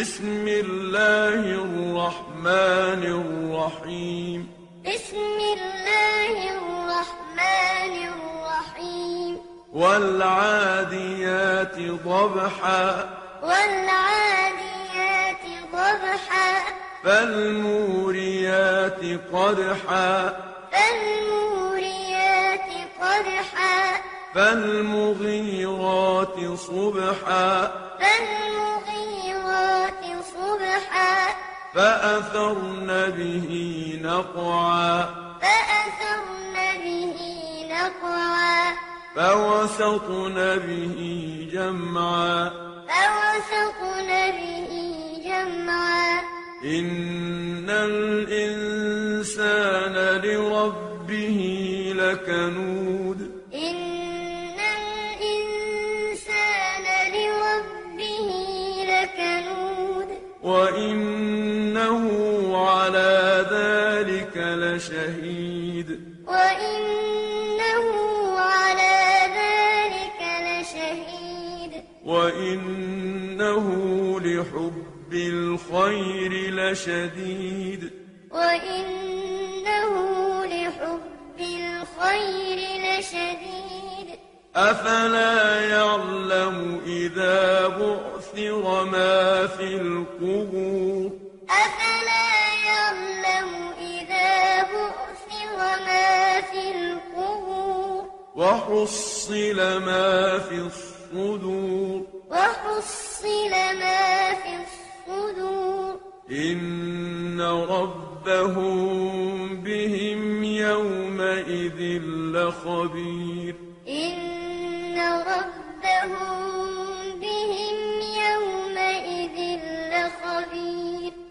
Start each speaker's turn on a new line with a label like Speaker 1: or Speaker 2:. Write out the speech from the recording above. Speaker 1: بسم الله الرحمن الرحيم
Speaker 2: بسم الله الرحمن الرحيم
Speaker 1: والعاديات ضبحا
Speaker 2: والعاديات ضبحا
Speaker 1: فالموريات قدحا
Speaker 2: فالموريات قدحا
Speaker 1: فالمغيرات صبحا
Speaker 2: فالمغيرات صبحا
Speaker 1: فأثرن به نقعا
Speaker 2: فأثرن به نقعا
Speaker 1: فوسطن به جمعا
Speaker 2: فوسطن به جمعا
Speaker 1: إن الإنسان لربه لكنود
Speaker 2: إن الإنسان لربه لكنود
Speaker 1: وإنه على ذلك لشهيد
Speaker 2: وإنه على ذلك لشهيد
Speaker 1: وإنه لحب الخير لشديد
Speaker 2: وإنه لحب الخير لشديد
Speaker 1: أفلا يعلم إذا بعثر ما في القبور
Speaker 2: أفلا يعلم إذا بعثر ما في القبور
Speaker 1: وحصل ما في الصدور
Speaker 2: وحصل ما في الصدور
Speaker 1: إن ربهم بهم يومئذ لخبير